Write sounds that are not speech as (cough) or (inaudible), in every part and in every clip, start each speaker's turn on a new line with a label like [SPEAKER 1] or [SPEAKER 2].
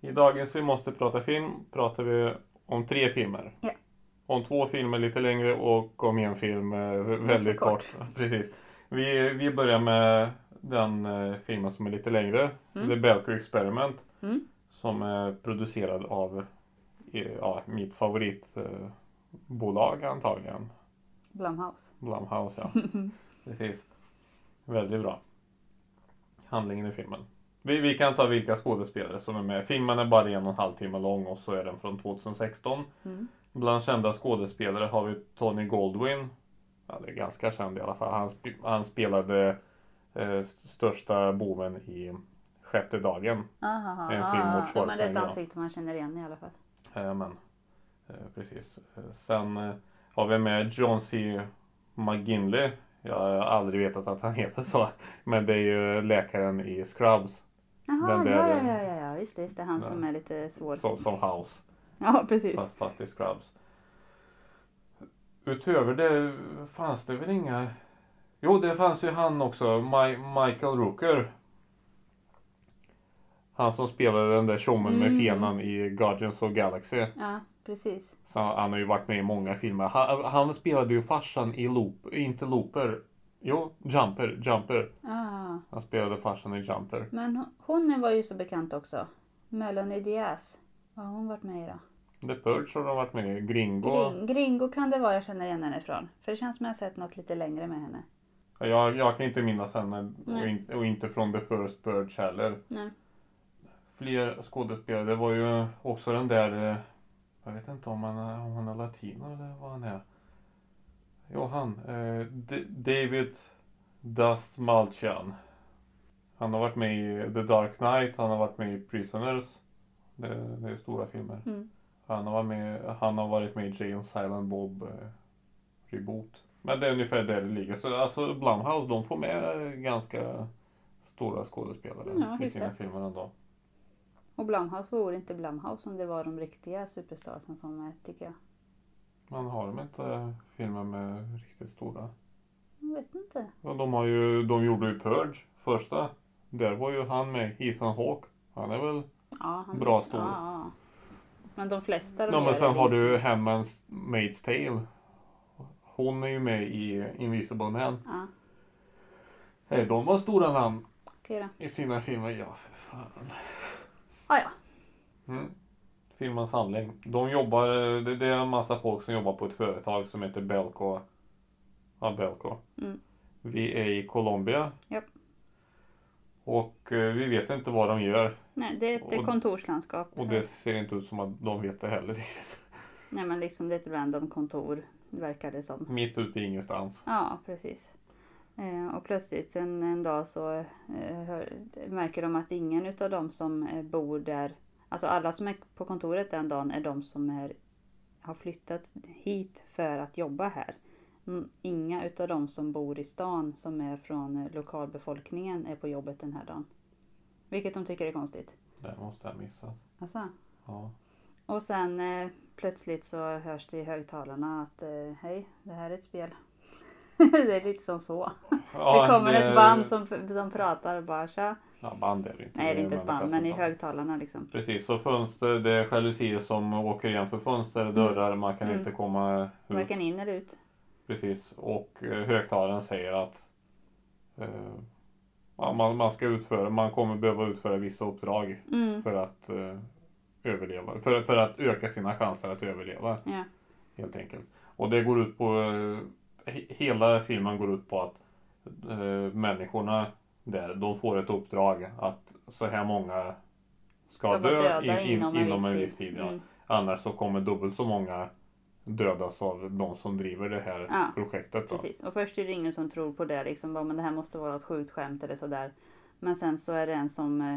[SPEAKER 1] I dagens Vi måste prata film pratar vi om tre filmer.
[SPEAKER 2] Ja.
[SPEAKER 1] Om två filmer lite längre och om en film eh, vä- väldigt
[SPEAKER 2] kort.
[SPEAKER 1] kort. Precis. Vi, vi börjar med den eh, filmen som är lite längre.
[SPEAKER 2] Mm.
[SPEAKER 1] The Belko Experiment.
[SPEAKER 2] Mm.
[SPEAKER 1] Som är producerad av eh, ja, mitt favoritbolag eh, bolag antagligen.
[SPEAKER 2] Blumhouse.
[SPEAKER 1] Blumhouse ja. Precis. Väldigt bra. Handlingen i filmen. Vi, vi kan ta vilka skådespelare som är med. Filmen är bara en och en halv timme lång och så är den från 2016.
[SPEAKER 2] Mm.
[SPEAKER 1] Bland kända skådespelare har vi Tony Goldwyn. Eller ganska känd i alla fall. Han, sp- han spelade eh, största boven i Sjätte dagen.
[SPEAKER 2] Aha, aha,
[SPEAKER 1] En film mot
[SPEAKER 2] aha. Ja, Men det är
[SPEAKER 1] Schwarzenegger,
[SPEAKER 2] ett
[SPEAKER 1] ja.
[SPEAKER 2] ansikte man känner igen i alla fall.
[SPEAKER 1] Eh, men, eh, precis. Eh, Sen eh, har vi med John C. McGinley. Jag har aldrig vetat att han heter så. Men det är ju läkaren i Scrubs.
[SPEAKER 2] Jaha,
[SPEAKER 1] Den
[SPEAKER 2] ja, ja,
[SPEAKER 1] där-
[SPEAKER 2] ja, ja, ja, just det, just det, han
[SPEAKER 1] Ja.
[SPEAKER 2] som är lite svår.
[SPEAKER 1] Som, som House.
[SPEAKER 2] Ja, precis.
[SPEAKER 1] Fast, fast i Scrubs. Utöver det fanns det väl inga... Jo, det fanns ju han också. Mi- Michael Rooker. Han som spelade den där tjommen med
[SPEAKER 2] Mm.
[SPEAKER 1] fenan i Guardians of Galaxy.
[SPEAKER 2] Ja, precis.
[SPEAKER 1] Så han, han har ju varit med i många filmer. Han, han spelade ju farsan i Loop, inte Looper. Jo, Jumper, Jumper.
[SPEAKER 2] Ah.
[SPEAKER 1] Han spelade farsan i Jumper.
[SPEAKER 2] Men hon- hon var ju så bekant också. Melanie Diaz. Vad har hon varit med i då?
[SPEAKER 1] The Purge har de varit med i. Gringo.
[SPEAKER 2] Gring, Gringo kan det vara jag känner igen henne ifrån. För det känns som jag har sett något lite längre med henne.
[SPEAKER 1] Jag, jag kan inte minnas henne och,
[SPEAKER 2] Nej.
[SPEAKER 1] in, och inte från The First Purge heller.
[SPEAKER 2] Nej.
[SPEAKER 1] Fler skådespelare. Det var ju också den där, eh, jag vet inte om han, är- om han är latino eller vad han är. Jo, han. Eh, D- David Dust Malchian. Han har varit med i The Dark Knight, han har varit med i Prisoners. Det, det är ju stora filmer.
[SPEAKER 2] Mm.
[SPEAKER 1] Han har, varit med, han har varit med i Jay and Silent Bob eh, Reboot. Men det är ungefär där det ligger. Så alltså Blumhouse, de får med ganska stora skådespelare
[SPEAKER 2] Ja,
[SPEAKER 1] i sina
[SPEAKER 2] hyfsat.
[SPEAKER 1] filmer ändå.
[SPEAKER 2] Och Blumhouse vore inte Blumhouse om det var de riktiga superstarsen som är, tycker jag.
[SPEAKER 1] Man har de inte eh, filmer med riktigt stora?
[SPEAKER 2] Jag vet inte.
[SPEAKER 1] Ja, de, har ju, de gjorde ju Purge, första. Där var ju han med, Ethan Hawke. Han är väl...
[SPEAKER 2] Ja, han
[SPEAKER 1] Bra stor.
[SPEAKER 2] Ja, ja. Men de flesta de
[SPEAKER 1] Ja, men
[SPEAKER 2] gör
[SPEAKER 1] sen
[SPEAKER 2] det
[SPEAKER 1] har
[SPEAKER 2] lite.
[SPEAKER 1] du Hammans Maid's Tale. Hon är ju med i Invisible Man.
[SPEAKER 2] Ja,
[SPEAKER 1] Hey, de var stora namn
[SPEAKER 2] okej då.
[SPEAKER 1] i sina filmer. Ja, för fan.
[SPEAKER 2] Ah, ja.
[SPEAKER 1] Mm. Filmens handling. De jobbar, det, det är en massa folk som jobbar på ett företag som heter Belco. Ja, Belco.
[SPEAKER 2] Mm.
[SPEAKER 1] Vi är i Colombia.
[SPEAKER 2] Japp.
[SPEAKER 1] Och eh, vi vet inte vad de gör.
[SPEAKER 2] Nej, det är ett
[SPEAKER 1] Och-
[SPEAKER 2] kontorslandskap.
[SPEAKER 1] Och det ser inte ut som att de vet det heller riktigt.
[SPEAKER 2] Nej, men liksom det är ett random kontor, verkar det som.
[SPEAKER 1] Mitt ute i ingenstans.
[SPEAKER 2] Ja, precis. Eh, och plötsligt en, en dag så eh, hör, märker de att ingen utav de som eh, bor där, alltså alla som är på kontoret den dagen är de som är, har flyttat hit för att jobba här. Mm, Inga utav de som bor i stan som är från eh, lokalbefolkningen är på jobbet den här dagen. Vilket de tycker är konstigt.
[SPEAKER 1] Det måste jag missa.
[SPEAKER 2] Alltså.
[SPEAKER 1] Ja.
[SPEAKER 2] Och sen eh, plötsligt så hörs det i högtalarna att eh, hej, det här är ett spel. (laughs) det är lite som så.
[SPEAKER 1] Ja,
[SPEAKER 2] det kommer ett band som, som pratar och bara tja.
[SPEAKER 1] Ja, band är det inte.
[SPEAKER 2] Nej det är inte ett
[SPEAKER 1] människa
[SPEAKER 2] band
[SPEAKER 1] som
[SPEAKER 2] men i
[SPEAKER 1] pratar.
[SPEAKER 2] högtalarna liksom.
[SPEAKER 1] Precis, så fönster, det är jalusier som åker igen för fönster, dörrar, man kan
[SPEAKER 2] Mm.
[SPEAKER 1] inte komma ut.
[SPEAKER 2] Varken in eller ut.
[SPEAKER 1] Precis, och eh, högtalaren säger att eh, ja, man, man ska utföra, man kommer behöva utföra vissa uppdrag
[SPEAKER 2] Mm.
[SPEAKER 1] för att eh, överleva, för, för att öka sina chanser att överleva
[SPEAKER 2] Ja.
[SPEAKER 1] helt enkelt. Och det går ut på, eh, he- hela filmen går ut på att eh, människorna där, de får ett uppdrag att så här många ska,
[SPEAKER 2] vara
[SPEAKER 1] dö
[SPEAKER 2] döda
[SPEAKER 1] in, in, inom, en viss tid. ja.
[SPEAKER 2] Mm.
[SPEAKER 1] Annars så kommer dubbelt så många dödas av de som driver det här
[SPEAKER 2] Ja,
[SPEAKER 1] projektet. Då.
[SPEAKER 2] Precis. Och först är det ingen som tror på det liksom. Bara, men det här måste vara ett sjukt skämt eller sådär. Men sen så är det en som, eh,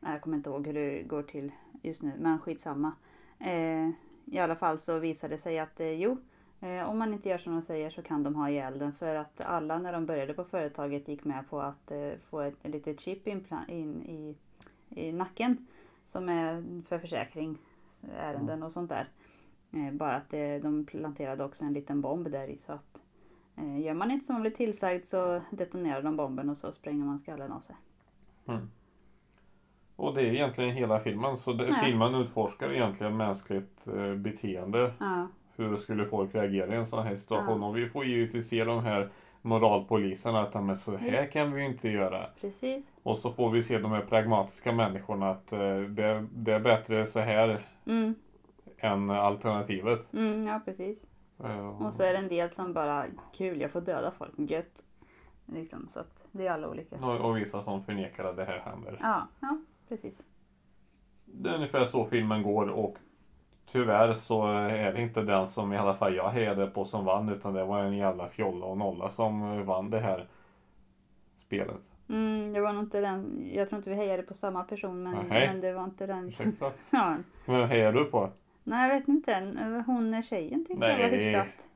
[SPEAKER 2] nej, jag kommer inte ihåg hur det går till just nu, men skitsamma. Eh, I alla fall så visar det sig att eh, jo, eh, om man inte gör som de säger så kan de ha ihjäl den. För att alla när de började på företaget gick med på att eh, få ett litet chip inpla- in i, i nacken. Som är för försäkringsärenden och sånt där. Eh, bara att eh, de planterade också en liten bomb där i så att eh, gör man inte som man blir tillsagd så detonerar de bomben och så spränger man skallen av sig.
[SPEAKER 1] Och det är egentligen hela filmen. Så det,
[SPEAKER 2] Ja.
[SPEAKER 1] filmen utforskar egentligen mänskligt eh, beteende.
[SPEAKER 2] Ja.
[SPEAKER 1] Hur skulle folk reagera i en sån här situation? Och vi får givetvis se de här moralpoliserna att "Ja, men så här
[SPEAKER 2] Visst.
[SPEAKER 1] kan vi ju inte göra.
[SPEAKER 2] Precis.
[SPEAKER 1] Och så får vi se de här pragmatiska människorna att eh, det, det är bättre så här
[SPEAKER 2] Mm,
[SPEAKER 1] än alternativet.
[SPEAKER 2] mm, ja, precis.
[SPEAKER 1] Eh,
[SPEAKER 2] Och så är det en del som bara, kul jag får döda folk, gött. Liksom, så att det är alla olika.
[SPEAKER 1] och, och vissa som förnekar att det här händer.
[SPEAKER 2] Ja, ja precis.
[SPEAKER 1] Det är ungefär så filmen går och tyvärr så är det inte den som i alla fall jag hejade på som vann utan det var en jävla fjolla och nolla som eh, vann det här spelet.
[SPEAKER 2] Mm, det var nog inte den, jag tror inte vi hejade på samma person men,
[SPEAKER 1] Nej.
[SPEAKER 2] men det var inte den som...
[SPEAKER 1] Ursäkta.
[SPEAKER 2] (laughs) Ja.
[SPEAKER 1] Vem hejar du på?
[SPEAKER 2] Nej jag vet inte, hon är tjejen tyckte jag var
[SPEAKER 1] Nej.
[SPEAKER 2] hyfsat.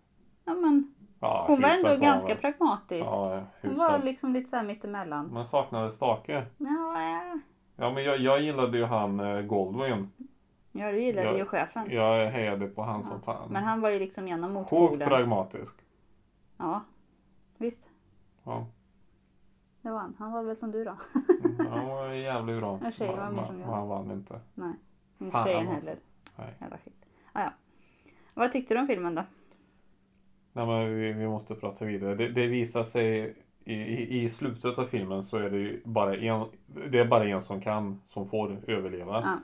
[SPEAKER 2] Ja, men,
[SPEAKER 1] Ja,
[SPEAKER 2] hon var
[SPEAKER 1] hyfsat
[SPEAKER 2] ändå
[SPEAKER 1] han
[SPEAKER 2] ganska pragmatisk.
[SPEAKER 1] Ja,
[SPEAKER 2] hon var
[SPEAKER 1] hyfsat.
[SPEAKER 2] liksom lite såhär mittemellan.
[SPEAKER 1] Man saknade stake.
[SPEAKER 2] Ja, ja.
[SPEAKER 1] Ja men jag, jag gillade ju han eh, Goldwyn.
[SPEAKER 2] ja du gillade
[SPEAKER 1] Ja.
[SPEAKER 2] ju chefen.
[SPEAKER 1] Jag hejade på han som fan.
[SPEAKER 2] Men han var ju liksom ena
[SPEAKER 1] Sjukt
[SPEAKER 2] motpolen.
[SPEAKER 1] pragmatisk.
[SPEAKER 2] Ja, visst.
[SPEAKER 1] Ja.
[SPEAKER 2] Det var han. Han var väl som du då.
[SPEAKER 1] Mm, Han var jävligt bra.
[SPEAKER 2] En tjej var mer som jag.
[SPEAKER 1] Men han vann inte.
[SPEAKER 2] Inte
[SPEAKER 1] Fan,
[SPEAKER 2] tjejen
[SPEAKER 1] vad-
[SPEAKER 2] heller.
[SPEAKER 1] Nej.
[SPEAKER 2] Jävla skit. Ah, ja. Vad tyckte du om filmen då?
[SPEAKER 1] Nej men vi, vi måste prata vidare. Det, det visar sig i, i, i slutet av filmen så är det ju bara en, det är bara en som kan, som får överleva.
[SPEAKER 2] Ja.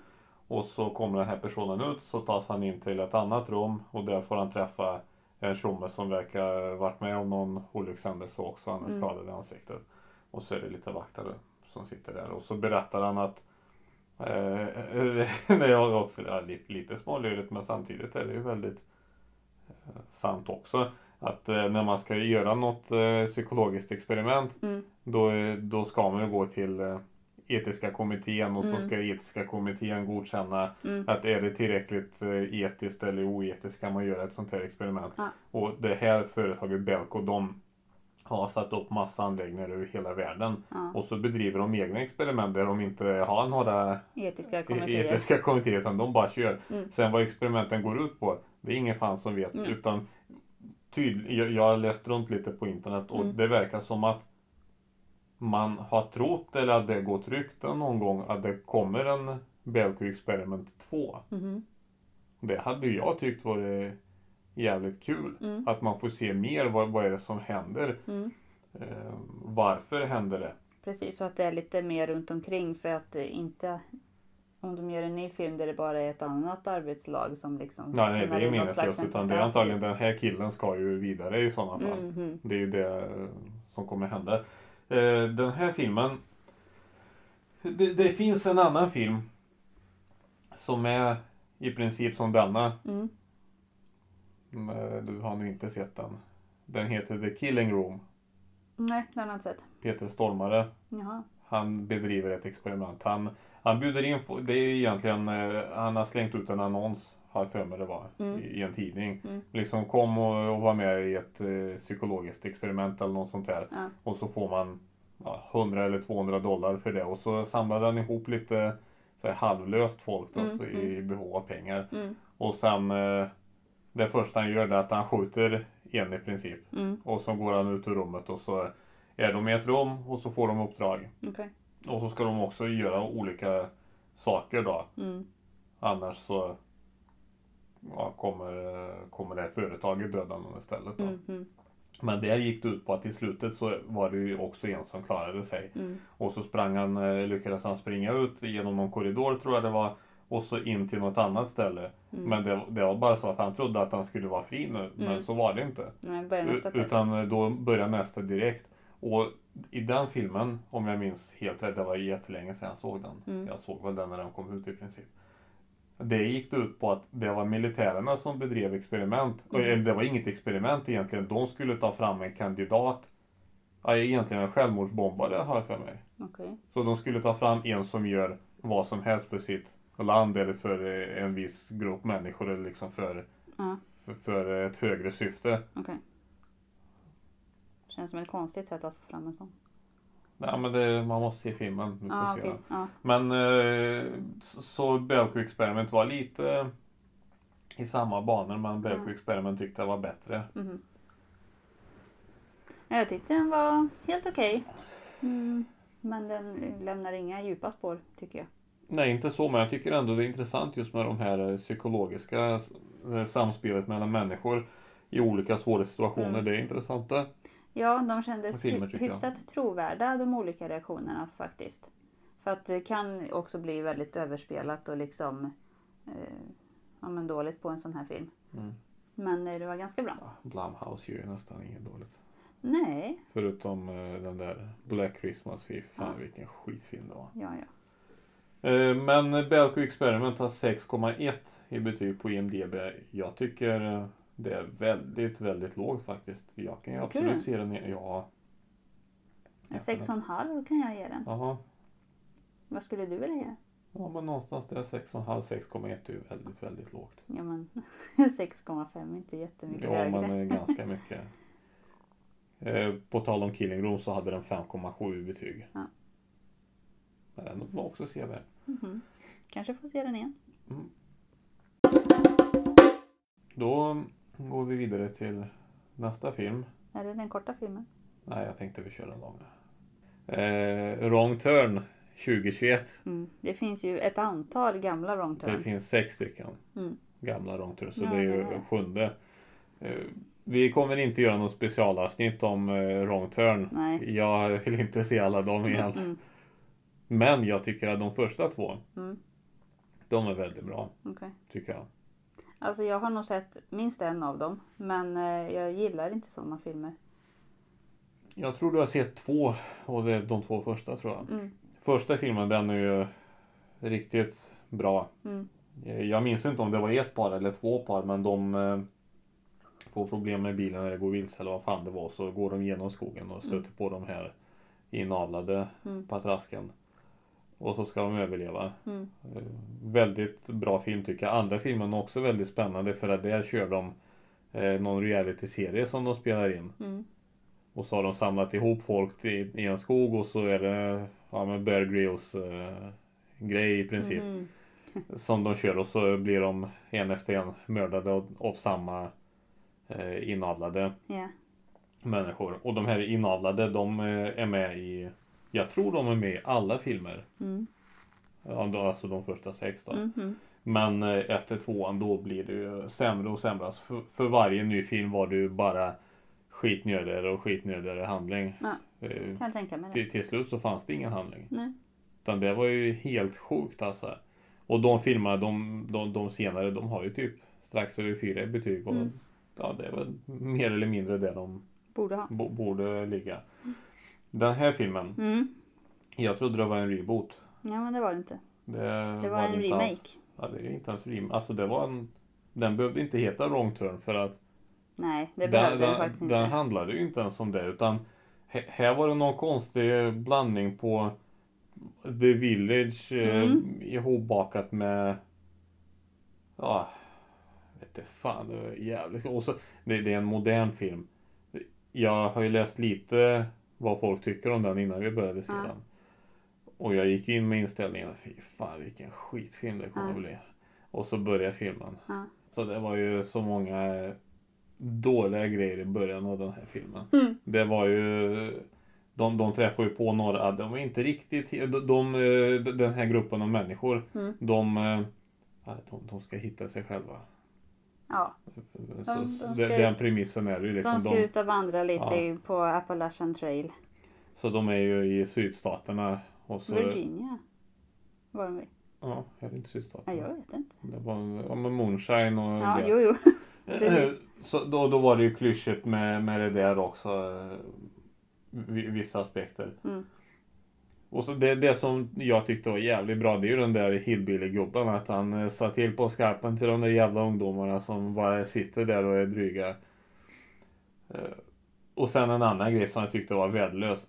[SPEAKER 1] Och så kommer den här personen ut så tas han in till ett annat rum och där får han träffa en tjomme som verkar varit med om någon olyckshändelse också. Han är
[SPEAKER 2] Mm.
[SPEAKER 1] skadad i ansiktet. Och så är det lite vaktare som sitter där och så berättar han att eh, (laughs) det är också ja, lite, lite smålurigt men samtidigt är det ju väldigt eh, sant också. Att eh, när man ska göra något eh, psykologiskt experiment
[SPEAKER 2] Mm.
[SPEAKER 1] då, eh, då ska man ju gå till eh, etiska kommittén och
[SPEAKER 2] Mm.
[SPEAKER 1] så ska etiska kommittén godkänna
[SPEAKER 2] Mm.
[SPEAKER 1] att är det tillräckligt eh, etiskt eller oetiskt kan man göra ett sånt här experiment.
[SPEAKER 2] Ja.
[SPEAKER 1] Och det här företaget Belko de har satt upp massa anläggningar över hela världen
[SPEAKER 2] Ja.
[SPEAKER 1] och så bedriver de egna experiment där de inte har några E-
[SPEAKER 2] Etiska kommittéer.
[SPEAKER 1] etiska kommittéer utan de bara kör.
[SPEAKER 2] Mm.
[SPEAKER 1] Sen vad experimenten går ut på, det är ingen fan som vet.
[SPEAKER 2] Mm.
[SPEAKER 1] Utan tydlig, jag, jag har läst runt lite på internet och
[SPEAKER 2] Mm.
[SPEAKER 1] det verkar som att man har trott eller att det gått rykten någon gång att det kommer en Belko Experiment 2.
[SPEAKER 2] Mhm.
[SPEAKER 1] Det hade ju jag tyckt var jävligt kul.
[SPEAKER 2] Mm.
[SPEAKER 1] Att man får se mer vad, vad är det som händer.
[SPEAKER 2] Mm.
[SPEAKER 1] Eh, varför händer det?
[SPEAKER 2] Precis, så att det är lite mer runt omkring för att det inte om de gör en ny film där det bara är ett annat arbetslag som liksom...
[SPEAKER 1] Nej, nej det är
[SPEAKER 2] något slags-
[SPEAKER 1] meningslöst. Utan det är
[SPEAKER 2] Ja,
[SPEAKER 1] antagligen
[SPEAKER 2] precis.
[SPEAKER 1] den här killen ska ju vidare i sådana fall.
[SPEAKER 2] Mm, mm.
[SPEAKER 1] Det är ju det eh, som kommer hända. Eh, Den här filmen. Det, det finns en annan film. Som är i princip som denna.
[SPEAKER 2] Mm.
[SPEAKER 1] Men Du har nu inte sett den. Den heter The Killing Room.
[SPEAKER 2] Nej, den har jag inte sett.
[SPEAKER 1] Peter Stormare.
[SPEAKER 2] Jaha.
[SPEAKER 1] Han bedriver ett experiment. Han, han bjuder in, fo- det är egentligen, eh, han har slängt ut en annons, har jag för mig det var,
[SPEAKER 2] Mm.
[SPEAKER 1] i, i en tidning.
[SPEAKER 2] Mm.
[SPEAKER 1] Liksom kom och, och var med i ett eh, psykologiskt experiment eller något sånt där.
[SPEAKER 2] Ja.
[SPEAKER 1] Och så får man ja, 100 eller 200 dollar för det. Och så samlade han ihop lite så här, halvlöst folk då,
[SPEAKER 2] Mm,
[SPEAKER 1] så, i behov av pengar.
[SPEAKER 2] Mm.
[SPEAKER 1] Och sen, eh, det första han gör det är att han skjuter en i princip.
[SPEAKER 2] Mm.
[SPEAKER 1] Och så går han ut ur rummet och så är de i ett rum och så får de uppdrag.
[SPEAKER 2] Okej.
[SPEAKER 1] Och så ska de också göra olika saker då.
[SPEAKER 2] Mm.
[SPEAKER 1] Annars så ja, kommer, eh, kommer det här företaget döda någon istället. Då.
[SPEAKER 2] Mm. Mm.
[SPEAKER 1] Men det gick det ut på att i slutet så var det ju också en som klarade sig.
[SPEAKER 2] Mm.
[SPEAKER 1] Och så sprang han, eh, lyckades han springa ut genom någon korridor tror jag det var. Och så in till något annat ställe.
[SPEAKER 2] Mm.
[SPEAKER 1] Men det, det var bara så att han trodde att han skulle vara fri nu.
[SPEAKER 2] Mm.
[SPEAKER 1] Men så var det inte.
[SPEAKER 2] Nej, börja nästa
[SPEAKER 1] U-
[SPEAKER 2] test.
[SPEAKER 1] Utan eh, då börjar nästa direkt. Och i den filmen, om jag minns helt rätt, det var jättelänge sedan jag såg den.
[SPEAKER 2] Mm.
[SPEAKER 1] Jag såg väl den när den kom ut i princip. Det gick det ut på att det var militärerna som bedrev experiment.
[SPEAKER 2] Mm.
[SPEAKER 1] Eller det var inget experiment egentligen. De skulle ta fram en kandidat. Ja, egentligen en självmordsbombare har jag för mig.
[SPEAKER 2] Okej.
[SPEAKER 1] Så de skulle ta fram en som gör vad som helst för sitt land eller för eh, en viss grupp människor eller liksom för,
[SPEAKER 2] Ja.
[SPEAKER 1] för, för ett högre syfte.
[SPEAKER 2] Okej. Känns som ett konstigt sätt att få fram en sån.
[SPEAKER 1] Nej men det, man måste se filmen. Vi Mm, får
[SPEAKER 2] Ja,
[SPEAKER 1] se
[SPEAKER 2] okej.
[SPEAKER 1] den.
[SPEAKER 2] Ja.
[SPEAKER 1] Men eh, så- så Belko Experiment var lite eh, i samma banor men Belko
[SPEAKER 2] Mm.
[SPEAKER 1] Experiment tyckte det var bättre.
[SPEAKER 2] Mhm. Jag tyckte den var helt okej. Mm. Men den lämnar inga djupa spår tycker jag.
[SPEAKER 1] Nej, inte så, men jag tycker ändå det är intressant just med de här eh, psykologiska eh, samspelet mellan människor i olika svåra situationer.
[SPEAKER 2] Mm.
[SPEAKER 1] Det är intressant det.
[SPEAKER 2] Ja, de kändes
[SPEAKER 1] Och filmer,
[SPEAKER 2] hy-
[SPEAKER 1] tycker jag.
[SPEAKER 2] hyfsat trovärda de olika reaktionerna faktiskt. För att det kan också bli väldigt överspelat och liksom eh, ja, men dåligt på en sån här film.
[SPEAKER 1] Mm.
[SPEAKER 2] Men eh, det var ganska bra.
[SPEAKER 1] Ja, Blumhouse gör ju nästan inget dåligt.
[SPEAKER 2] Nej,
[SPEAKER 1] Förutom eh, den där Black Christmas, fy fan
[SPEAKER 2] Ja.
[SPEAKER 1] vilken skitfilm det var.
[SPEAKER 2] ja, ja.
[SPEAKER 1] Eh, Men Belko Experiment har 6,1 i betyg på IMDB. Jag tycker eh, det är väldigt, väldigt lågt faktiskt. Jag kan ju
[SPEAKER 2] Tycker
[SPEAKER 1] absolut
[SPEAKER 2] du?
[SPEAKER 1] se den. i- Ja.
[SPEAKER 2] En sex och en halv kan jag ge den.
[SPEAKER 1] Jaha.
[SPEAKER 2] Vad skulle du vilja ge den?
[SPEAKER 1] Ja men någonstans där 6,5, 6,1 är ju väldigt, väldigt lågt.
[SPEAKER 2] Ja, men (laughs) 6,5 är inte jättemycket
[SPEAKER 1] Ja
[SPEAKER 2] högre.
[SPEAKER 1] men eh, ganska
[SPEAKER 2] (laughs)
[SPEAKER 1] mycket. Eh, På tal om Killing Room så hade den 5,7 i betyg.
[SPEAKER 2] Ja.
[SPEAKER 1] Men den var också sevärd.
[SPEAKER 2] Mhm. Kanske får se den igen.
[SPEAKER 1] Då går vi vidare till nästa film.
[SPEAKER 2] Är det den korta filmen?
[SPEAKER 1] Nej, jag tänkte vi kör den långa. Eh, wrong Turn 2021.
[SPEAKER 2] Mm. Det finns ju ett antal gamla wrong
[SPEAKER 1] Det
[SPEAKER 2] turn.
[SPEAKER 1] finns sex stycken
[SPEAKER 2] Mm.
[SPEAKER 1] gamla Wrong Turn, så
[SPEAKER 2] Ja,
[SPEAKER 1] det är ju
[SPEAKER 2] det är.
[SPEAKER 1] sjunde. Eh, vi kommer inte göra något specialavsnitt om eh, Wrong Turn.
[SPEAKER 2] Nej.
[SPEAKER 1] Jag vill inte se alla dem igen.
[SPEAKER 2] Mm.
[SPEAKER 1] Men jag tycker att de första två,
[SPEAKER 2] Mm.
[SPEAKER 1] de är väldigt bra.
[SPEAKER 2] Okej.
[SPEAKER 1] Tycker jag.
[SPEAKER 2] Alltså jag har nog sett minst en av dem. Men eh, jag gillar inte sådana filmer.
[SPEAKER 1] Jag tror du har sett två, och det är de två första tror jag.
[SPEAKER 2] Mm.
[SPEAKER 1] Första filmen den är ju riktigt bra.
[SPEAKER 2] Mm.
[SPEAKER 1] Eh, Jag minns inte om det var ett par eller två par men de eh, får problem med bilen när det går vilse eller vad fan det var så går de genom skogen och stöter på de här inavlade
[SPEAKER 2] Mm.
[SPEAKER 1] patrasken. Och så ska de överleva.
[SPEAKER 2] Mm.
[SPEAKER 1] Eh, Väldigt bra film tycker jag. Andra filmen är också väldigt spännande för att där kör de eh, någon reality-serie som de spelar in.
[SPEAKER 2] Mm.
[SPEAKER 1] Och så har de samlat ihop folk i, i en skog och så är det ja, men Bear Grylls eh, grej i princip
[SPEAKER 2] Mhm.
[SPEAKER 1] som de kör och så blir de en efter en mördade av- av samma eh, inavlade
[SPEAKER 2] Ja.
[SPEAKER 1] människor. Och de här inavlade de eh, är med i, jag tror de är med i alla filmer.
[SPEAKER 2] Mm.
[SPEAKER 1] Ja, då- Alltså de första sex då.
[SPEAKER 2] Mhm.
[SPEAKER 1] Men eh, efter tvåan då blir det ju sämre och sämre. Alltså för, för varje ny film var det ju bara skitnödigare och skitnödigare handling.
[SPEAKER 2] Ja.
[SPEAKER 1] Eh,
[SPEAKER 2] Kan jag tänka mig det.
[SPEAKER 1] till, till slut så fanns det ingen handling.
[SPEAKER 2] Nej.
[SPEAKER 1] Utan det var ju helt sjukt alltså. Och de filmerna, de, de, de senare, de har ju typ strax över fyra i betyg. Och
[SPEAKER 2] Mm.
[SPEAKER 1] Ja, det är väl mer eller mindre där de
[SPEAKER 2] Borde ha.
[SPEAKER 1] bo- borde ligga. Den här filmen,
[SPEAKER 2] Mm.
[SPEAKER 1] jag trodde det var en reboot.
[SPEAKER 2] Ja men det var det inte.
[SPEAKER 1] Det,
[SPEAKER 2] Det var en
[SPEAKER 1] inte Alls,
[SPEAKER 2] remake.
[SPEAKER 1] ja, det är inte ens remake. Alltså det var en... Den behövde inte heta Wrong Turn för att
[SPEAKER 2] Nej det
[SPEAKER 1] den,
[SPEAKER 2] behövde det
[SPEAKER 1] den,
[SPEAKER 2] faktiskt
[SPEAKER 1] den
[SPEAKER 2] inte.
[SPEAKER 1] handlade ju inte ens om det utan hä- här var det någon konstig blandning på The Village eh,
[SPEAKER 2] Mm.
[SPEAKER 1] ihopbakat med ja, vet du fan, det var jävligt och så, det, det är en modern film. Jag har ju läst lite vad folk tycker om den innan vi började se
[SPEAKER 2] Ja.
[SPEAKER 1] den. Och jag gick in med inställningen att fy fan vilken skitfilm det kommer
[SPEAKER 2] Ja.
[SPEAKER 1] bli. Och så börjar filmen.
[SPEAKER 2] Ja.
[SPEAKER 1] Så det var ju så många dåliga grejer i början av den här filmen.
[SPEAKER 2] Mm.
[SPEAKER 1] Det var ju... De, de träffar ju på några, de var inte riktigt... De, de, eh, den här gruppen av människor,
[SPEAKER 2] Mm.
[SPEAKER 1] de, eh, ja, de, de ska hitta sig själva.
[SPEAKER 2] Ja.
[SPEAKER 1] Så,
[SPEAKER 2] de
[SPEAKER 1] så
[SPEAKER 2] ska
[SPEAKER 1] den-
[SPEAKER 2] ut-
[SPEAKER 1] den premissen är ju liksom.
[SPEAKER 2] De ska
[SPEAKER 1] De,
[SPEAKER 2] ut och vandra lite
[SPEAKER 1] Ja.
[SPEAKER 2] i- på Appalachian trail.
[SPEAKER 1] så de är ju i sydstaterna. Och så,
[SPEAKER 2] Virginia. Var de vid?
[SPEAKER 1] Ja, jag vet inte
[SPEAKER 2] Nej
[SPEAKER 1] sydstaterna.
[SPEAKER 2] jag vet inte.
[SPEAKER 1] Det var ja, men moonshine och...
[SPEAKER 2] Ja
[SPEAKER 1] det.
[SPEAKER 2] jo jo.
[SPEAKER 1] (laughs)
[SPEAKER 2] (laughs) Precis.
[SPEAKER 1] (clears throat) Så då, då var det ju klyschigt med, med det där också. eh, vi- Vissa aspekter.
[SPEAKER 2] Mm.
[SPEAKER 1] Och så det, det som jag tyckte var jävligt bra det är ju den där hillbilly-gubben. Att han eh, sa till på skarpen till de där jävla ungdomarna som bara sitter där och är dryga. Eh, Och sen en annan grej som jag tyckte var värdelös.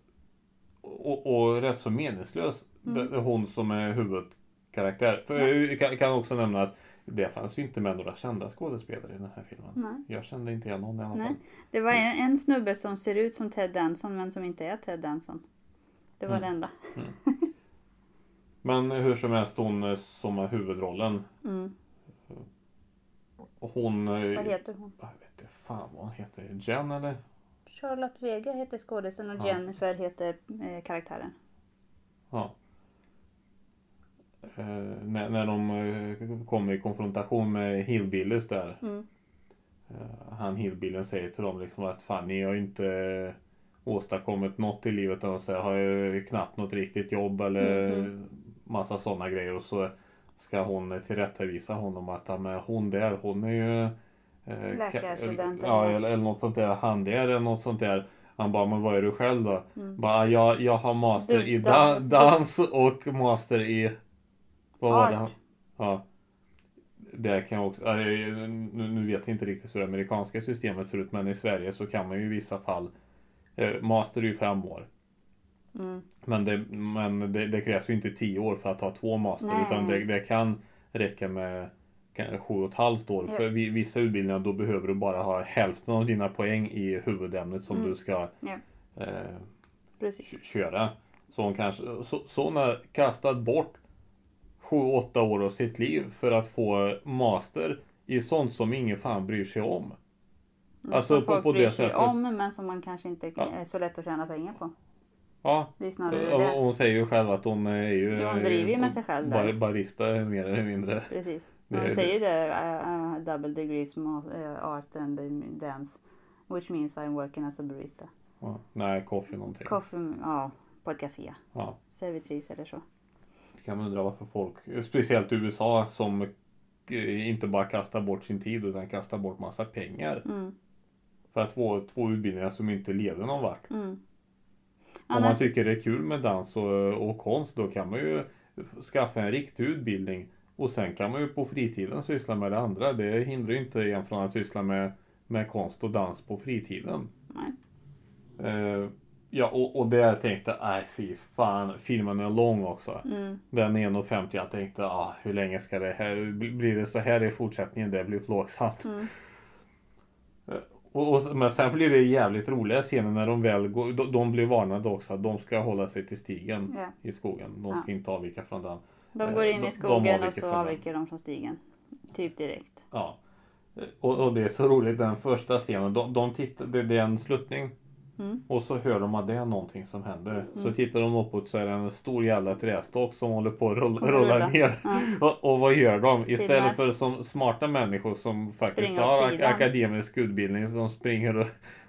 [SPEAKER 1] Och, och rätt så meningslös.
[SPEAKER 2] Mm.
[SPEAKER 1] Det- Hon som är huvudkaraktär. För jag kan, kan också nämna att det fanns ju inte med några kända skådespelare i den här filmen.
[SPEAKER 2] Nej.
[SPEAKER 1] Jag kände inte igen någon i alla
[SPEAKER 2] Mm. Nej.
[SPEAKER 1] fall.
[SPEAKER 2] Det var en, en snubbe som ser ut som Ted Danson men som inte är Ted Danson. Det var
[SPEAKER 1] Mm.
[SPEAKER 2] det enda.
[SPEAKER 1] Men hur som helst hon eh, som har huvudrollen.
[SPEAKER 2] Mm.
[SPEAKER 1] Och hon... eh,
[SPEAKER 2] Vad heter hon?
[SPEAKER 1] Jag vet inte fan vad hon heter. Jen eller?
[SPEAKER 2] Charlotte Vega heter skådisen och
[SPEAKER 1] Ja.
[SPEAKER 2] Jennifer heter eh, karaktären.
[SPEAKER 1] Ja. Eh, när, när de eh, kommer i konfrontation med Hillbillies där.
[SPEAKER 2] Mm.
[SPEAKER 1] Eh, han Hillbillen säger till dem liksom att fan ni har ju inte eh, åstadkommit något i livet. De säger, har ju knappt något riktigt jobb eller massa sådana grejer. Och så ska hon eh, tillrättavisa honom att ja, men hon där hon är ju eh,
[SPEAKER 2] Läkarstudent
[SPEAKER 1] ka-
[SPEAKER 2] eller
[SPEAKER 1] ja,
[SPEAKER 2] något.
[SPEAKER 1] eller, eller något sånt där. Han där eller något sånt där. Han bara, men vad är du själv då? Bara, jag, jag har master
[SPEAKER 2] Du-
[SPEAKER 1] i
[SPEAKER 2] dan-
[SPEAKER 1] da- dans och master i... Vad var det? han-
[SPEAKER 2] Art.
[SPEAKER 1] Ja. Det kan jag också... ja, det är- Nu nu vet jag inte riktigt hur det amerikanska systemet ser ut men i Sverige så kan man ju i vissa fall... eh, Master är ju fem år.
[SPEAKER 2] Mm.
[SPEAKER 1] Men det, men det, det krävs ju inte tio år för att ha två master
[SPEAKER 2] Nej.
[SPEAKER 1] utan det, det kan räcka med kan- sju och ett halvt år.
[SPEAKER 2] Ja.
[SPEAKER 1] För vi- vissa utbildningar då behöver du bara ha hälften av dina poäng i huvudämnet som
[SPEAKER 2] Mm.
[SPEAKER 1] du ska
[SPEAKER 2] Ja.
[SPEAKER 1] eh,
[SPEAKER 2] Precis.
[SPEAKER 1] k- köra. Så hon kanske, så, så hon har kastat bort 7-8 år av sitt liv för att få master i sånt som ingen fan bryr sig om. Alltså,
[SPEAKER 2] Mm, som
[SPEAKER 1] på-
[SPEAKER 2] folk
[SPEAKER 1] på det
[SPEAKER 2] bryr sig
[SPEAKER 1] sättet.
[SPEAKER 2] om men som man kanske inte
[SPEAKER 1] Ja.
[SPEAKER 2] är så lätt att tjäna pengar på.
[SPEAKER 1] Ja,
[SPEAKER 2] Det är snarare
[SPEAKER 1] och eh,
[SPEAKER 2] det.
[SPEAKER 1] hon säger ju själv att hon är ju
[SPEAKER 2] Ja, hon driver ju med sig själv där.
[SPEAKER 1] bar, barista mer eller mindre.
[SPEAKER 2] Precis.
[SPEAKER 1] Det
[SPEAKER 2] De
[SPEAKER 1] är-
[SPEAKER 2] säger det, uh, uh, double degrees mo- eh, art and dance. Which means I'm working as a barista.
[SPEAKER 1] Ja, nej, kaffe någonting.
[SPEAKER 2] Coffee, mm, ja, på ett café.
[SPEAKER 1] Ja,
[SPEAKER 2] Servitris eller så.
[SPEAKER 1] kan man undra varför folk, speciellt i USA som eh, inte bara kastar bort sin tid utan kastar bort massa pengar.
[SPEAKER 2] Mm,
[SPEAKER 1] För att få två utbildningar som inte leder någon vart.
[SPEAKER 2] mm.
[SPEAKER 1] Om man
[SPEAKER 2] Annars,
[SPEAKER 1] tycker det är kul med dans och, och konst då kan man ju skaffa en riktig utbildning och sen kan man ju på fritiden syssla med det andra. Det hindrar ju inte en från att syssla med, med konst och dans på fritiden.
[SPEAKER 2] nej.
[SPEAKER 1] Eh, ja, och, och det jag tänkte, nej fy fan, filmen är lång också.
[SPEAKER 2] Mm,
[SPEAKER 1] Den 1.50, jag tänkte, ah, hur länge ska det här, blir det så här i fortsättningen? Det blir plågsamt. Eh,
[SPEAKER 2] mm,
[SPEAKER 1] Och, och, men sen blir det jävligt roliga scener när de väl går, de, de blir varnade också att de ska hålla sig till stigen
[SPEAKER 2] ja.
[SPEAKER 1] i skogen. De ska inte avvika från den.
[SPEAKER 2] De
[SPEAKER 1] Eh,
[SPEAKER 2] går in
[SPEAKER 1] de-
[SPEAKER 2] i
[SPEAKER 1] de
[SPEAKER 2] skogen och
[SPEAKER 1] avviker
[SPEAKER 2] så
[SPEAKER 1] från den.
[SPEAKER 2] avviker de från stigen. Typ direkt.
[SPEAKER 1] Ja. Eh, Och, och det är så roligt den första scenen. De, de tittar, det, det är en sluttning. (laughs)
[SPEAKER 2] Mm.
[SPEAKER 1] Och så hör de att det är någonting som händer. Så tittar de uppåt så är det en stor jävla trästock som håller på att rulla,
[SPEAKER 2] Och rulla.
[SPEAKER 1] rulla ner.
[SPEAKER 2] Ja.
[SPEAKER 1] (laughs) Och, och vad gör de?
[SPEAKER 2] Filmar.
[SPEAKER 1] Istället för som smarta människor som faktiskt
[SPEAKER 2] Springer åt
[SPEAKER 1] har ak-
[SPEAKER 2] sidan.
[SPEAKER 1] akademisk utbildning så de springer å-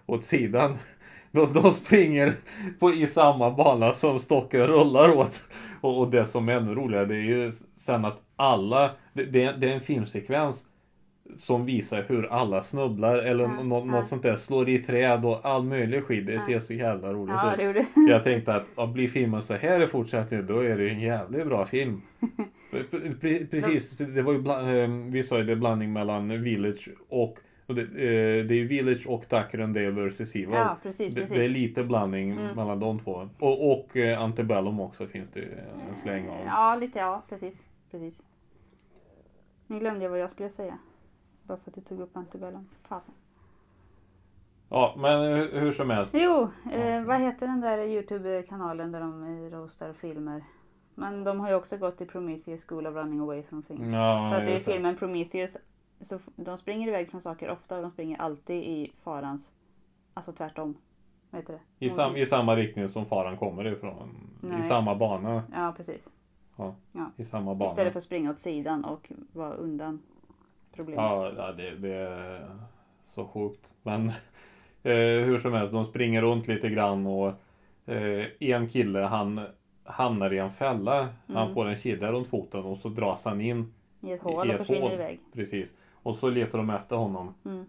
[SPEAKER 1] åt sidan. (laughs) De, de springer på, i samma bana som stocken rullar åt. Och, och det som är ännu roligare det är ju sen att alla, det, det, är- det är en filmsekvens som visar hur alla snubblar eller
[SPEAKER 2] Ja,
[SPEAKER 1] nå-
[SPEAKER 2] ja.
[SPEAKER 1] något sånt där, slår i träd och all möjlig skit. Det
[SPEAKER 2] Ja.
[SPEAKER 1] ser så jävla roligt
[SPEAKER 2] Ja,
[SPEAKER 1] ut. (laughs)
[SPEAKER 2] det gjorde
[SPEAKER 1] Jag tänkte att ja, blir filmen så här i fortsättningen då är det ju en jävligt bra
[SPEAKER 2] (laughs)
[SPEAKER 1] film. Pre- pre- Precis, för det var ju bland, eh, vi sa ju det är blandning mellan Village och, och det, eh, det är ju Village och Tucker and Dale vs Evil.
[SPEAKER 2] Ja, precis,
[SPEAKER 1] det,
[SPEAKER 2] precis.
[SPEAKER 1] det är lite blandning
[SPEAKER 2] Mm.
[SPEAKER 1] mellan de två. Och, och eh, Antebellum också finns det ju en släng av.
[SPEAKER 2] Ja, lite ja, precis. precis. Nu glömde jag vad jag skulle säga. Bara för att du tog upp antibellum. Fasen.
[SPEAKER 1] Ja, men hur, hur som
[SPEAKER 2] (laughs)
[SPEAKER 1] helst.
[SPEAKER 2] Jo, eh, vad heter den där Youtube-kanalen där de eh, roastar filmer? Men de har ju också gått i Prometheus School of Running Away from Things.
[SPEAKER 1] Ja,
[SPEAKER 2] För att i
[SPEAKER 1] just det.
[SPEAKER 2] filmen Prometheus, så f- de springer iväg från saker ofta och de springer alltid i farans, alltså tvärtom. Vad heter det?
[SPEAKER 1] I, sam, I samma riktning som faran kommer ifrån.
[SPEAKER 2] Nej.
[SPEAKER 1] I samma bana.
[SPEAKER 2] Ja, precis.
[SPEAKER 1] I samma bana.
[SPEAKER 2] Istället för att springa åt sidan och vara undan problemet.
[SPEAKER 1] Ja, ja, det, det är så sjukt. Men (laughs) eh, hur som helst, de springer runt lite grann och eh, en kille han hamnar i en fälla.
[SPEAKER 2] Mm.
[SPEAKER 1] Han får en kedja runt foten och så dras han in
[SPEAKER 2] I ett
[SPEAKER 1] i
[SPEAKER 2] hål och
[SPEAKER 1] ett
[SPEAKER 2] försvinner
[SPEAKER 1] hål.
[SPEAKER 2] iväg.
[SPEAKER 1] precis. Och så letar de efter honom
[SPEAKER 2] Mm.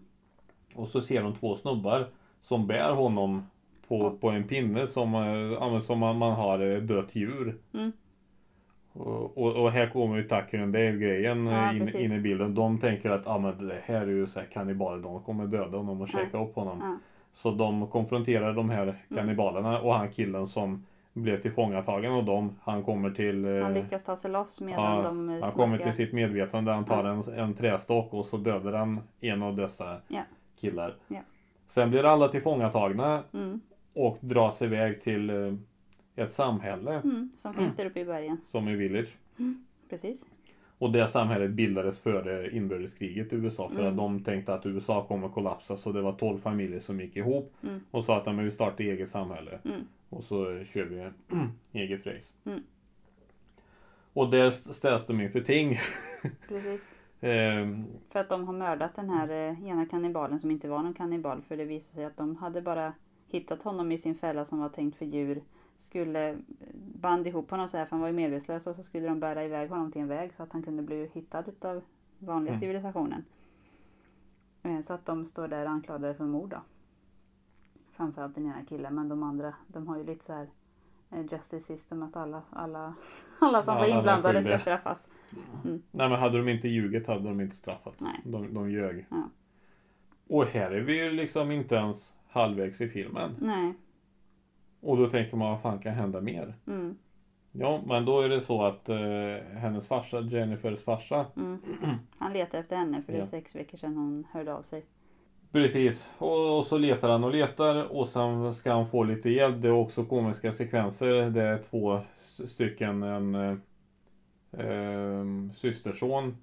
[SPEAKER 1] och så ser de två snubbar som bär honom på,
[SPEAKER 2] Ja.
[SPEAKER 1] på en pinne som, eh, ja, men som man, man har eh, dött djur.
[SPEAKER 2] Mm.
[SPEAKER 1] Och, och, och här kommer ju Tucker and Dale-grejen
[SPEAKER 2] Ja,
[SPEAKER 1] eh, in,
[SPEAKER 2] precis.
[SPEAKER 1] in i bilden. De tänker att ah, men det här är ju så här kannibaler, de kommer döda honom och
[SPEAKER 2] Ja.
[SPEAKER 1] käka upp honom.
[SPEAKER 2] Ja. Mm.
[SPEAKER 1] Så de konfronterar de här kannibalerna och han killen som blev tillfångatagen av dem, han kommer till... eh,
[SPEAKER 2] Han lyckas ta sig loss medan
[SPEAKER 1] ja,
[SPEAKER 2] de eh,
[SPEAKER 1] han kommer till
[SPEAKER 2] snackar.
[SPEAKER 1] sitt medvetande, han tar en, en trästock och så dödar han en av dessa
[SPEAKER 2] Ja.
[SPEAKER 1] killar.
[SPEAKER 2] Ja.
[SPEAKER 1] Sen blir alla tillfångatagna
[SPEAKER 2] Mm,
[SPEAKER 1] och dras iväg till eh, ett samhälle
[SPEAKER 2] mm, som finns där uppe i bergen.
[SPEAKER 1] som är Village.
[SPEAKER 2] Precis.
[SPEAKER 1] Och det samhället bildades före inbördeskriget i USA för
[SPEAKER 2] Mm.
[SPEAKER 1] att de tänkte att USA kommer kollapsa så det var 12 familjer som gick ihop
[SPEAKER 2] Mm.
[SPEAKER 1] och sa att "Ja, men vi startar eget samhälle
[SPEAKER 2] Mm.
[SPEAKER 1] (clears throat) och så kör vi eget race.
[SPEAKER 2] Mm.
[SPEAKER 1] Och där st- ställs de inför ting. (laughs)
[SPEAKER 2] Precis.
[SPEAKER 1] Ehm,
[SPEAKER 2] För att de har mördat den här eh, ena kannibalen som inte var någon kannibal. För det visade sig att de hade bara hittat honom i sin fälla som var tänkt för djur. Skulle eh, band ihop honom så här för han var ju medvetslös och så skulle de bära iväg honom till en väg så att han kunde bli hittad utav vanliga
[SPEAKER 1] Mm.
[SPEAKER 2] civilisationen. Eh, Så att de står där anklagade för mord då. Framförallt den ena killen men de andra de har ju lite så här eh, justice system att alla, alla, (laughs) alla som
[SPEAKER 1] Alla
[SPEAKER 2] var
[SPEAKER 1] var
[SPEAKER 2] inblandade ska
[SPEAKER 1] skyldiga.
[SPEAKER 2] straffas.
[SPEAKER 1] nej men hade de inte ljugit hade de inte straffats.
[SPEAKER 2] Nej.
[SPEAKER 1] De, de ljög.
[SPEAKER 2] Ja.
[SPEAKER 1] Och här är vi ju liksom inte ens halvvägs i filmen.
[SPEAKER 2] Nej.
[SPEAKER 1] Och då tänker man vad fan kan hända mer?
[SPEAKER 2] Mm.
[SPEAKER 1] Ja men då är det så att eh, hennes farsa, Jennifers farsa, (clears throat)
[SPEAKER 2] Mm. Han letar efter henne för det är
[SPEAKER 1] Ja.
[SPEAKER 2] sex veckor sedan hon hörde av sig.
[SPEAKER 1] Precis, och, och så letar han och letar och sen ska han få lite hjälp. Det är också komiska sekvenser. Det är två s- stycken, en eh, ehm, systerson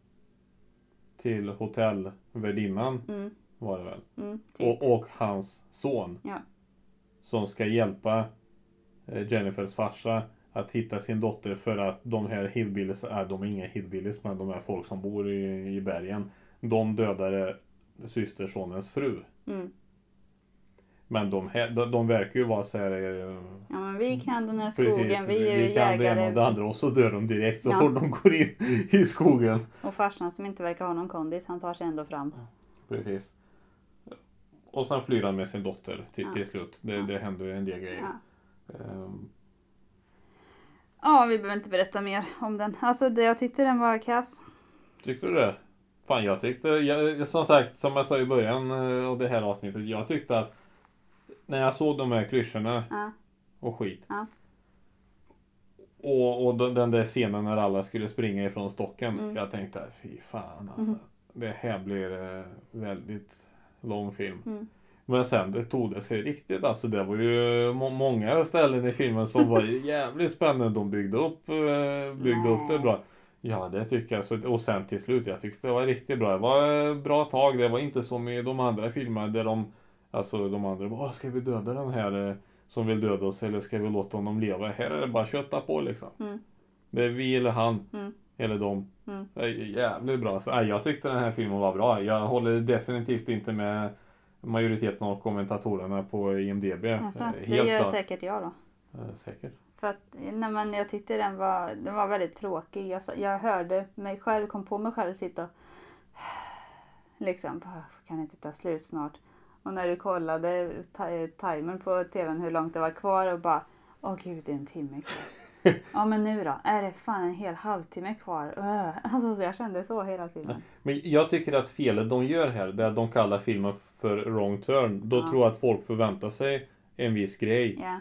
[SPEAKER 1] till hotellvärdinnan
[SPEAKER 2] Mm.
[SPEAKER 1] var det väl.
[SPEAKER 2] Mm. Typ.
[SPEAKER 1] Och, och hans son.
[SPEAKER 2] Ja.
[SPEAKER 1] Som ska hjälpa eh, Jennifers farsa att hitta sin dotter för att de här hillbillies, äh, de är inga hillbillies men de är folk som bor i, i bergen. De dödade systersonens fru.
[SPEAKER 2] Mm.
[SPEAKER 1] Men de, här, de, de verkar ju vara så här... eh,
[SPEAKER 2] Ja men vi kan den här skogen,
[SPEAKER 1] Precis,
[SPEAKER 2] vi är ju
[SPEAKER 1] vi kan det ena och det
[SPEAKER 2] jägare.
[SPEAKER 1] andra och så dör de direkt så
[SPEAKER 2] Ja.
[SPEAKER 1] fort de går in i skogen.
[SPEAKER 2] Och farsan som inte verkar ha någon kondis, han tar sig ändå fram.
[SPEAKER 1] Precis. Och sen flyr han med sin dotter till,
[SPEAKER 2] Ja.
[SPEAKER 1] till slut. Det, det händer ju en del grejer.
[SPEAKER 2] Ja.
[SPEAKER 1] Ehm,
[SPEAKER 2] ja, vi behöver inte berätta mer om den. Alltså det, jag tyckte den var kass.
[SPEAKER 1] tyckte du det? Fan jag tyckte, jag, som sagt, som jag sa i början eh, av det här avsnittet. Jag tyckte att när jag såg de här klyschorna
[SPEAKER 2] Ja.
[SPEAKER 1] och skit.
[SPEAKER 2] Ja.
[SPEAKER 1] Och, och den, den där scenen när alla skulle springa ifrån stocken.
[SPEAKER 2] Mm.
[SPEAKER 1] Jag tänkte fy fan alltså.
[SPEAKER 2] Mhm.
[SPEAKER 1] Det här blir eh, väldigt lång film.
[SPEAKER 2] Mm.
[SPEAKER 1] Men sen det tog det sig riktigt alltså. Det var ju må- många ställen i filmen som
[SPEAKER 2] (laughs)
[SPEAKER 1] var jävligt spännande. De byggde upp, eh, byggde upp det
[SPEAKER 2] Nej.
[SPEAKER 1] bra. Ja det tycker jag. Så, och sen till slut jag tyckte det var riktigt bra. Det var eh, bra tag. Det var inte som i de andra filmerna där de Alltså de andra bara "Åh, ska vi döda den här eh, som vill döda oss eller ska vi låta honom leva? Här är det bara kötta på liksom.
[SPEAKER 2] Mm.
[SPEAKER 1] Det är vi eller han.
[SPEAKER 2] Mm.
[SPEAKER 1] Eller de.
[SPEAKER 2] Mm.
[SPEAKER 1] Det är jävligt bra. Så, nej, jag tyckte den här filmen var bra. Jag håller definitivt inte med majoriteten av kommentatorerna på IMDB.
[SPEAKER 2] Alltså,
[SPEAKER 1] Eh,
[SPEAKER 2] det
[SPEAKER 1] Helt
[SPEAKER 2] gör
[SPEAKER 1] klart.
[SPEAKER 2] säkert jag då.
[SPEAKER 1] Eh, Säkert.
[SPEAKER 2] För att, nej men jag tyckte den var, den var väldigt tråkig. Jag, sa- jag hörde mig själv, kom på mig själv sitta och (sighs) liksom, bara, kan det inte ta slut snart? Och när du kollade ta- timern på tvn hur långt det var kvar och bara, åh gud det är en timme kvar.
[SPEAKER 1] (laughs)
[SPEAKER 2] ja men nu då, är det fan en hel halvtimme kvar? Öh. (laughs) Alltså så jag kände så hela filmen.
[SPEAKER 1] Men jag tycker att felet de gör här, det är att de kallar filmen för wrong turn. Då
[SPEAKER 2] Ja.
[SPEAKER 1] tror jag att folk förväntar sig en viss grej.
[SPEAKER 2] Ja.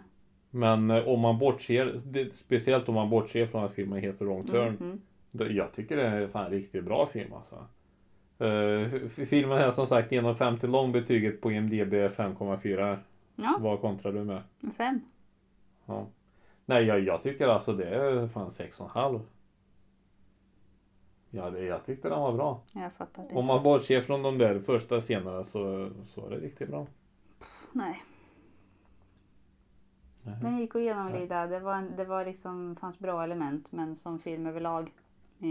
[SPEAKER 1] Men eh, om man bortser, det, speciellt om man bortser från att filmen heter Wrong Turn.
[SPEAKER 2] Mm, mm.
[SPEAKER 1] då- Jag tycker det är fan en riktigt bra film alltså. Eh, f- filmen är som sagt 1,50 lång, betyget på IMDB är 5,4.
[SPEAKER 2] Ja,
[SPEAKER 1] Vad kontrar du med?
[SPEAKER 2] en mm. fem.
[SPEAKER 1] Nej, jag, jag tycker alltså det är fan 6,5. Ja, det, jag tyckte den var bra.
[SPEAKER 2] Jag fattar det.
[SPEAKER 1] Om man bortser från de där första scenerna så, så är det riktigt bra.
[SPEAKER 2] Nej.
[SPEAKER 1] Nej.
[SPEAKER 2] Den gick att genomlida. Det, var, en- det var liksom, fanns bra element men som film överlag. Eh.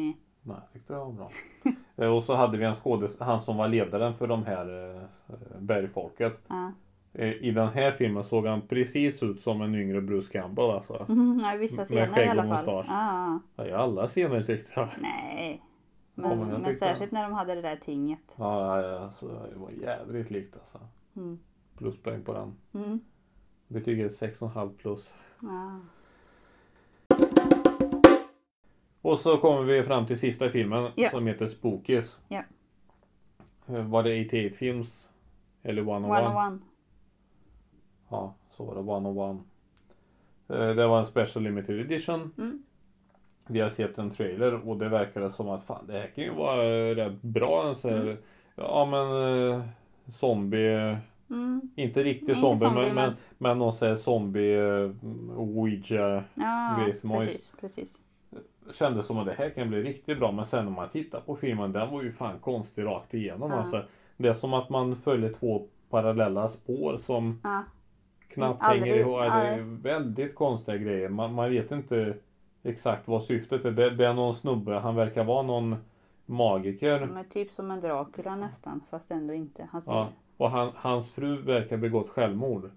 [SPEAKER 1] Nej, jag tyckte det var bra. (laughs) Eh, Och så hade vi en skådis, han som var ledaren för de här eh, bergfolket.
[SPEAKER 2] Ja. (laughs)
[SPEAKER 1] Eh, I den här filmen såg han precis ut som en yngre Bruce Campbell alltså.
[SPEAKER 2] Mm, ja, i vissa
[SPEAKER 1] Med
[SPEAKER 2] scener
[SPEAKER 1] skägg
[SPEAKER 2] i
[SPEAKER 1] och
[SPEAKER 2] alla fall.
[SPEAKER 1] mustasch.
[SPEAKER 2] Ja,
[SPEAKER 1] Ja, I alla scener tyckte jag.
[SPEAKER 2] nej.
[SPEAKER 1] Ja,
[SPEAKER 2] Men,
[SPEAKER 1] men jag
[SPEAKER 2] men
[SPEAKER 1] tyckte-
[SPEAKER 2] särskilt när de hade det där tinget.
[SPEAKER 1] Ja, ja, alltså, det var jävligt likt alltså.
[SPEAKER 2] Mm.
[SPEAKER 1] Pluspoäng på den.
[SPEAKER 2] Mm.
[SPEAKER 1] Betyget 6,5 plus.
[SPEAKER 2] Ja.
[SPEAKER 1] Och så kommer vi fram till sista filmen
[SPEAKER 2] Ja.
[SPEAKER 1] som heter Spookies.
[SPEAKER 2] Ja.
[SPEAKER 1] Eh, Var det 88 Films? Eller 101?
[SPEAKER 2] 101.
[SPEAKER 1] Ja, så var det 101. Eh, Det var en special limited edition.
[SPEAKER 2] Mm.
[SPEAKER 1] Vi har sett en trailer och det verkade som att fan det här kan ju vara eh, rätt bra. En sån här,
[SPEAKER 2] Mm.
[SPEAKER 1] Ja men eh, zombie
[SPEAKER 2] Mm.
[SPEAKER 1] Inte riktigt
[SPEAKER 2] Inte
[SPEAKER 1] zombie,
[SPEAKER 2] zombie,
[SPEAKER 1] men, men,
[SPEAKER 2] men-
[SPEAKER 1] men någon sån här zombie eh, ouija.
[SPEAKER 2] Ja,
[SPEAKER 1] Grace Moyes.
[SPEAKER 2] precis. precis.
[SPEAKER 1] Kändes som att det här kan bli riktigt bra men sen när man tittar på filmen den var ju fan konstig rakt igenom
[SPEAKER 2] Ja.
[SPEAKER 1] alltså. Det är som att man följer två parallella spår som
[SPEAKER 2] Ja.
[SPEAKER 1] knappt
[SPEAKER 2] Aldrig-
[SPEAKER 1] hänger ihop. Ja, Det är
[SPEAKER 2] aldrig.
[SPEAKER 1] väldigt konstiga grejer. Man, man vet inte exakt vad syftet är. Det, det är någon snubbe, han verkar vara någon magiker.
[SPEAKER 2] Men typ som en Dracula nästan, fast ändå inte. Han ser,
[SPEAKER 1] Ja.
[SPEAKER 2] ja.
[SPEAKER 1] Och han, hans fru verkar begått självmord.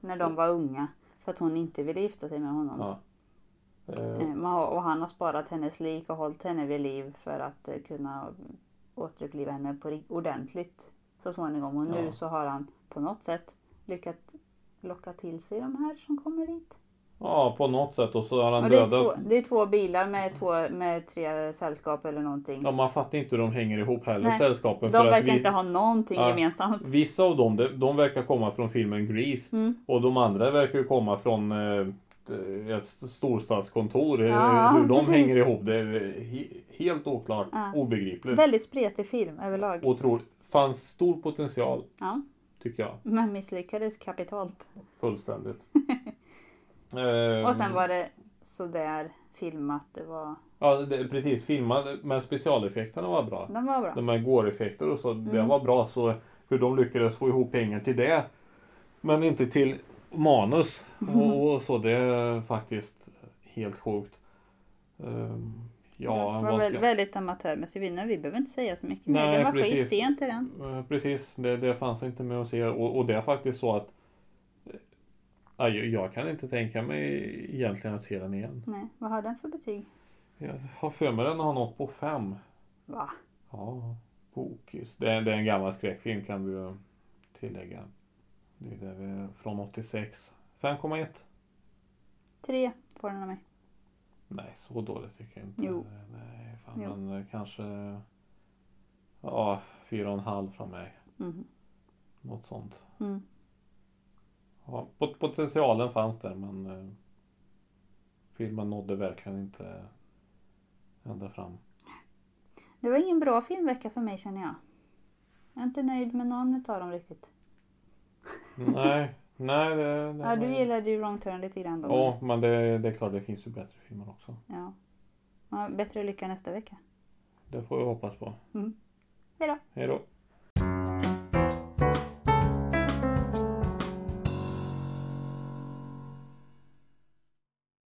[SPEAKER 2] när de var unga. För att hon inte ville gifta sig med honom.
[SPEAKER 1] Ja. Eh,
[SPEAKER 2] Eh, man har- Och han har sparat hennes lik och hållit henne vid liv för att eh, kunna återuppliva henne på ri- ordentligt så småningom. Och nu
[SPEAKER 1] Ja.
[SPEAKER 2] så har han på något sätt lyckats locka till sig de här som kommer dit.
[SPEAKER 1] ja, på något sätt. Och så har han
[SPEAKER 2] Och det, är
[SPEAKER 1] dödat...
[SPEAKER 2] två, det är två bilar med, två, med tre sällskap eller någonting.
[SPEAKER 1] Ja, man fattar inte hur de hänger ihop heller,
[SPEAKER 2] Nej.
[SPEAKER 1] sällskapen.
[SPEAKER 2] de
[SPEAKER 1] för att
[SPEAKER 2] verkar
[SPEAKER 1] vi,
[SPEAKER 2] inte ha någonting
[SPEAKER 1] Ja.
[SPEAKER 2] gemensamt.
[SPEAKER 1] Vissa av dem, de, de verkar komma från filmen Grease.
[SPEAKER 2] Mm.
[SPEAKER 1] Och de andra verkar ju komma från eh, ett- ett st- storstadskontor. Hur-
[SPEAKER 2] Ja,
[SPEAKER 1] hur de
[SPEAKER 2] precis.
[SPEAKER 1] hänger ihop, det är eh, he, helt oklart.
[SPEAKER 2] Ja.
[SPEAKER 1] Obegripligt.
[SPEAKER 2] Väldigt spretig film överlag.
[SPEAKER 1] Otroligt. Fanns stor potential,
[SPEAKER 2] Ja,
[SPEAKER 1] tycker jag.
[SPEAKER 2] men misslyckades kapitalt. (laughs)
[SPEAKER 1] Fullständigt.
[SPEAKER 2] Och sen
[SPEAKER 1] Ehm,
[SPEAKER 2] var det sådär filmat. Det var,
[SPEAKER 1] Ja, det, precis. Filmad, men specialeffekterna var bra.
[SPEAKER 2] den var bra.
[SPEAKER 1] De här gåreffekter och så, det
[SPEAKER 2] Mm.
[SPEAKER 1] var bra. Så hur de lyckades få ihop pengar till det. Men inte till manus
[SPEAKER 2] Mm.
[SPEAKER 1] och, och så. Det är faktiskt helt sjukt. Ehm, ja,
[SPEAKER 2] det var
[SPEAKER 1] vad
[SPEAKER 2] väl,
[SPEAKER 1] ska...
[SPEAKER 2] väldigt amatörmässig vinnare. Vi behöver inte säga så mycket mer.
[SPEAKER 1] Nej,
[SPEAKER 2] Den var
[SPEAKER 1] precis.
[SPEAKER 2] skitsent i den.
[SPEAKER 1] Eh, Precis, det, det fanns inte med att se. Och, och det är faktiskt så att eh, ja, jag, jag kan inte tänka mig egentligen att se den igen.
[SPEAKER 2] Nej, vad har den för betyg?
[SPEAKER 1] Jag har för mig den har nått på fem.
[SPEAKER 2] Va?
[SPEAKER 1] Ja, Bokis. Det är, det är en gammal skräckfilm kan vi ju tillägga. Det är där vi, från 86. 5,1?
[SPEAKER 2] Tre får den av mig.
[SPEAKER 1] Nej, så dåligt tycker jag inte.
[SPEAKER 2] Jo.
[SPEAKER 1] Nej, fan,
[SPEAKER 2] Jo.
[SPEAKER 1] men eh, kanske... Ja, 4,5 från mig.
[SPEAKER 2] Mhm.
[SPEAKER 1] Något sånt.
[SPEAKER 2] Mm.
[SPEAKER 1] Ja, pot- potentialen fanns där men eh, filmen nådde verkligen inte ända fram.
[SPEAKER 2] Det var ingen bra filmvecka för mig känner jag. Jag är inte nöjd med någon utav dem riktigt.
[SPEAKER 1] Nej, nej det, det
[SPEAKER 2] Ja,
[SPEAKER 1] var-
[SPEAKER 2] du gillade ju Wrong Turn lite grann då.
[SPEAKER 1] Ja, men det, det är klart det finns ju bättre filmer också.
[SPEAKER 2] Ja. Ja, Bättre lycka nästa vecka.
[SPEAKER 1] Det får vi hoppas på.
[SPEAKER 2] Hej då.
[SPEAKER 1] Hej då.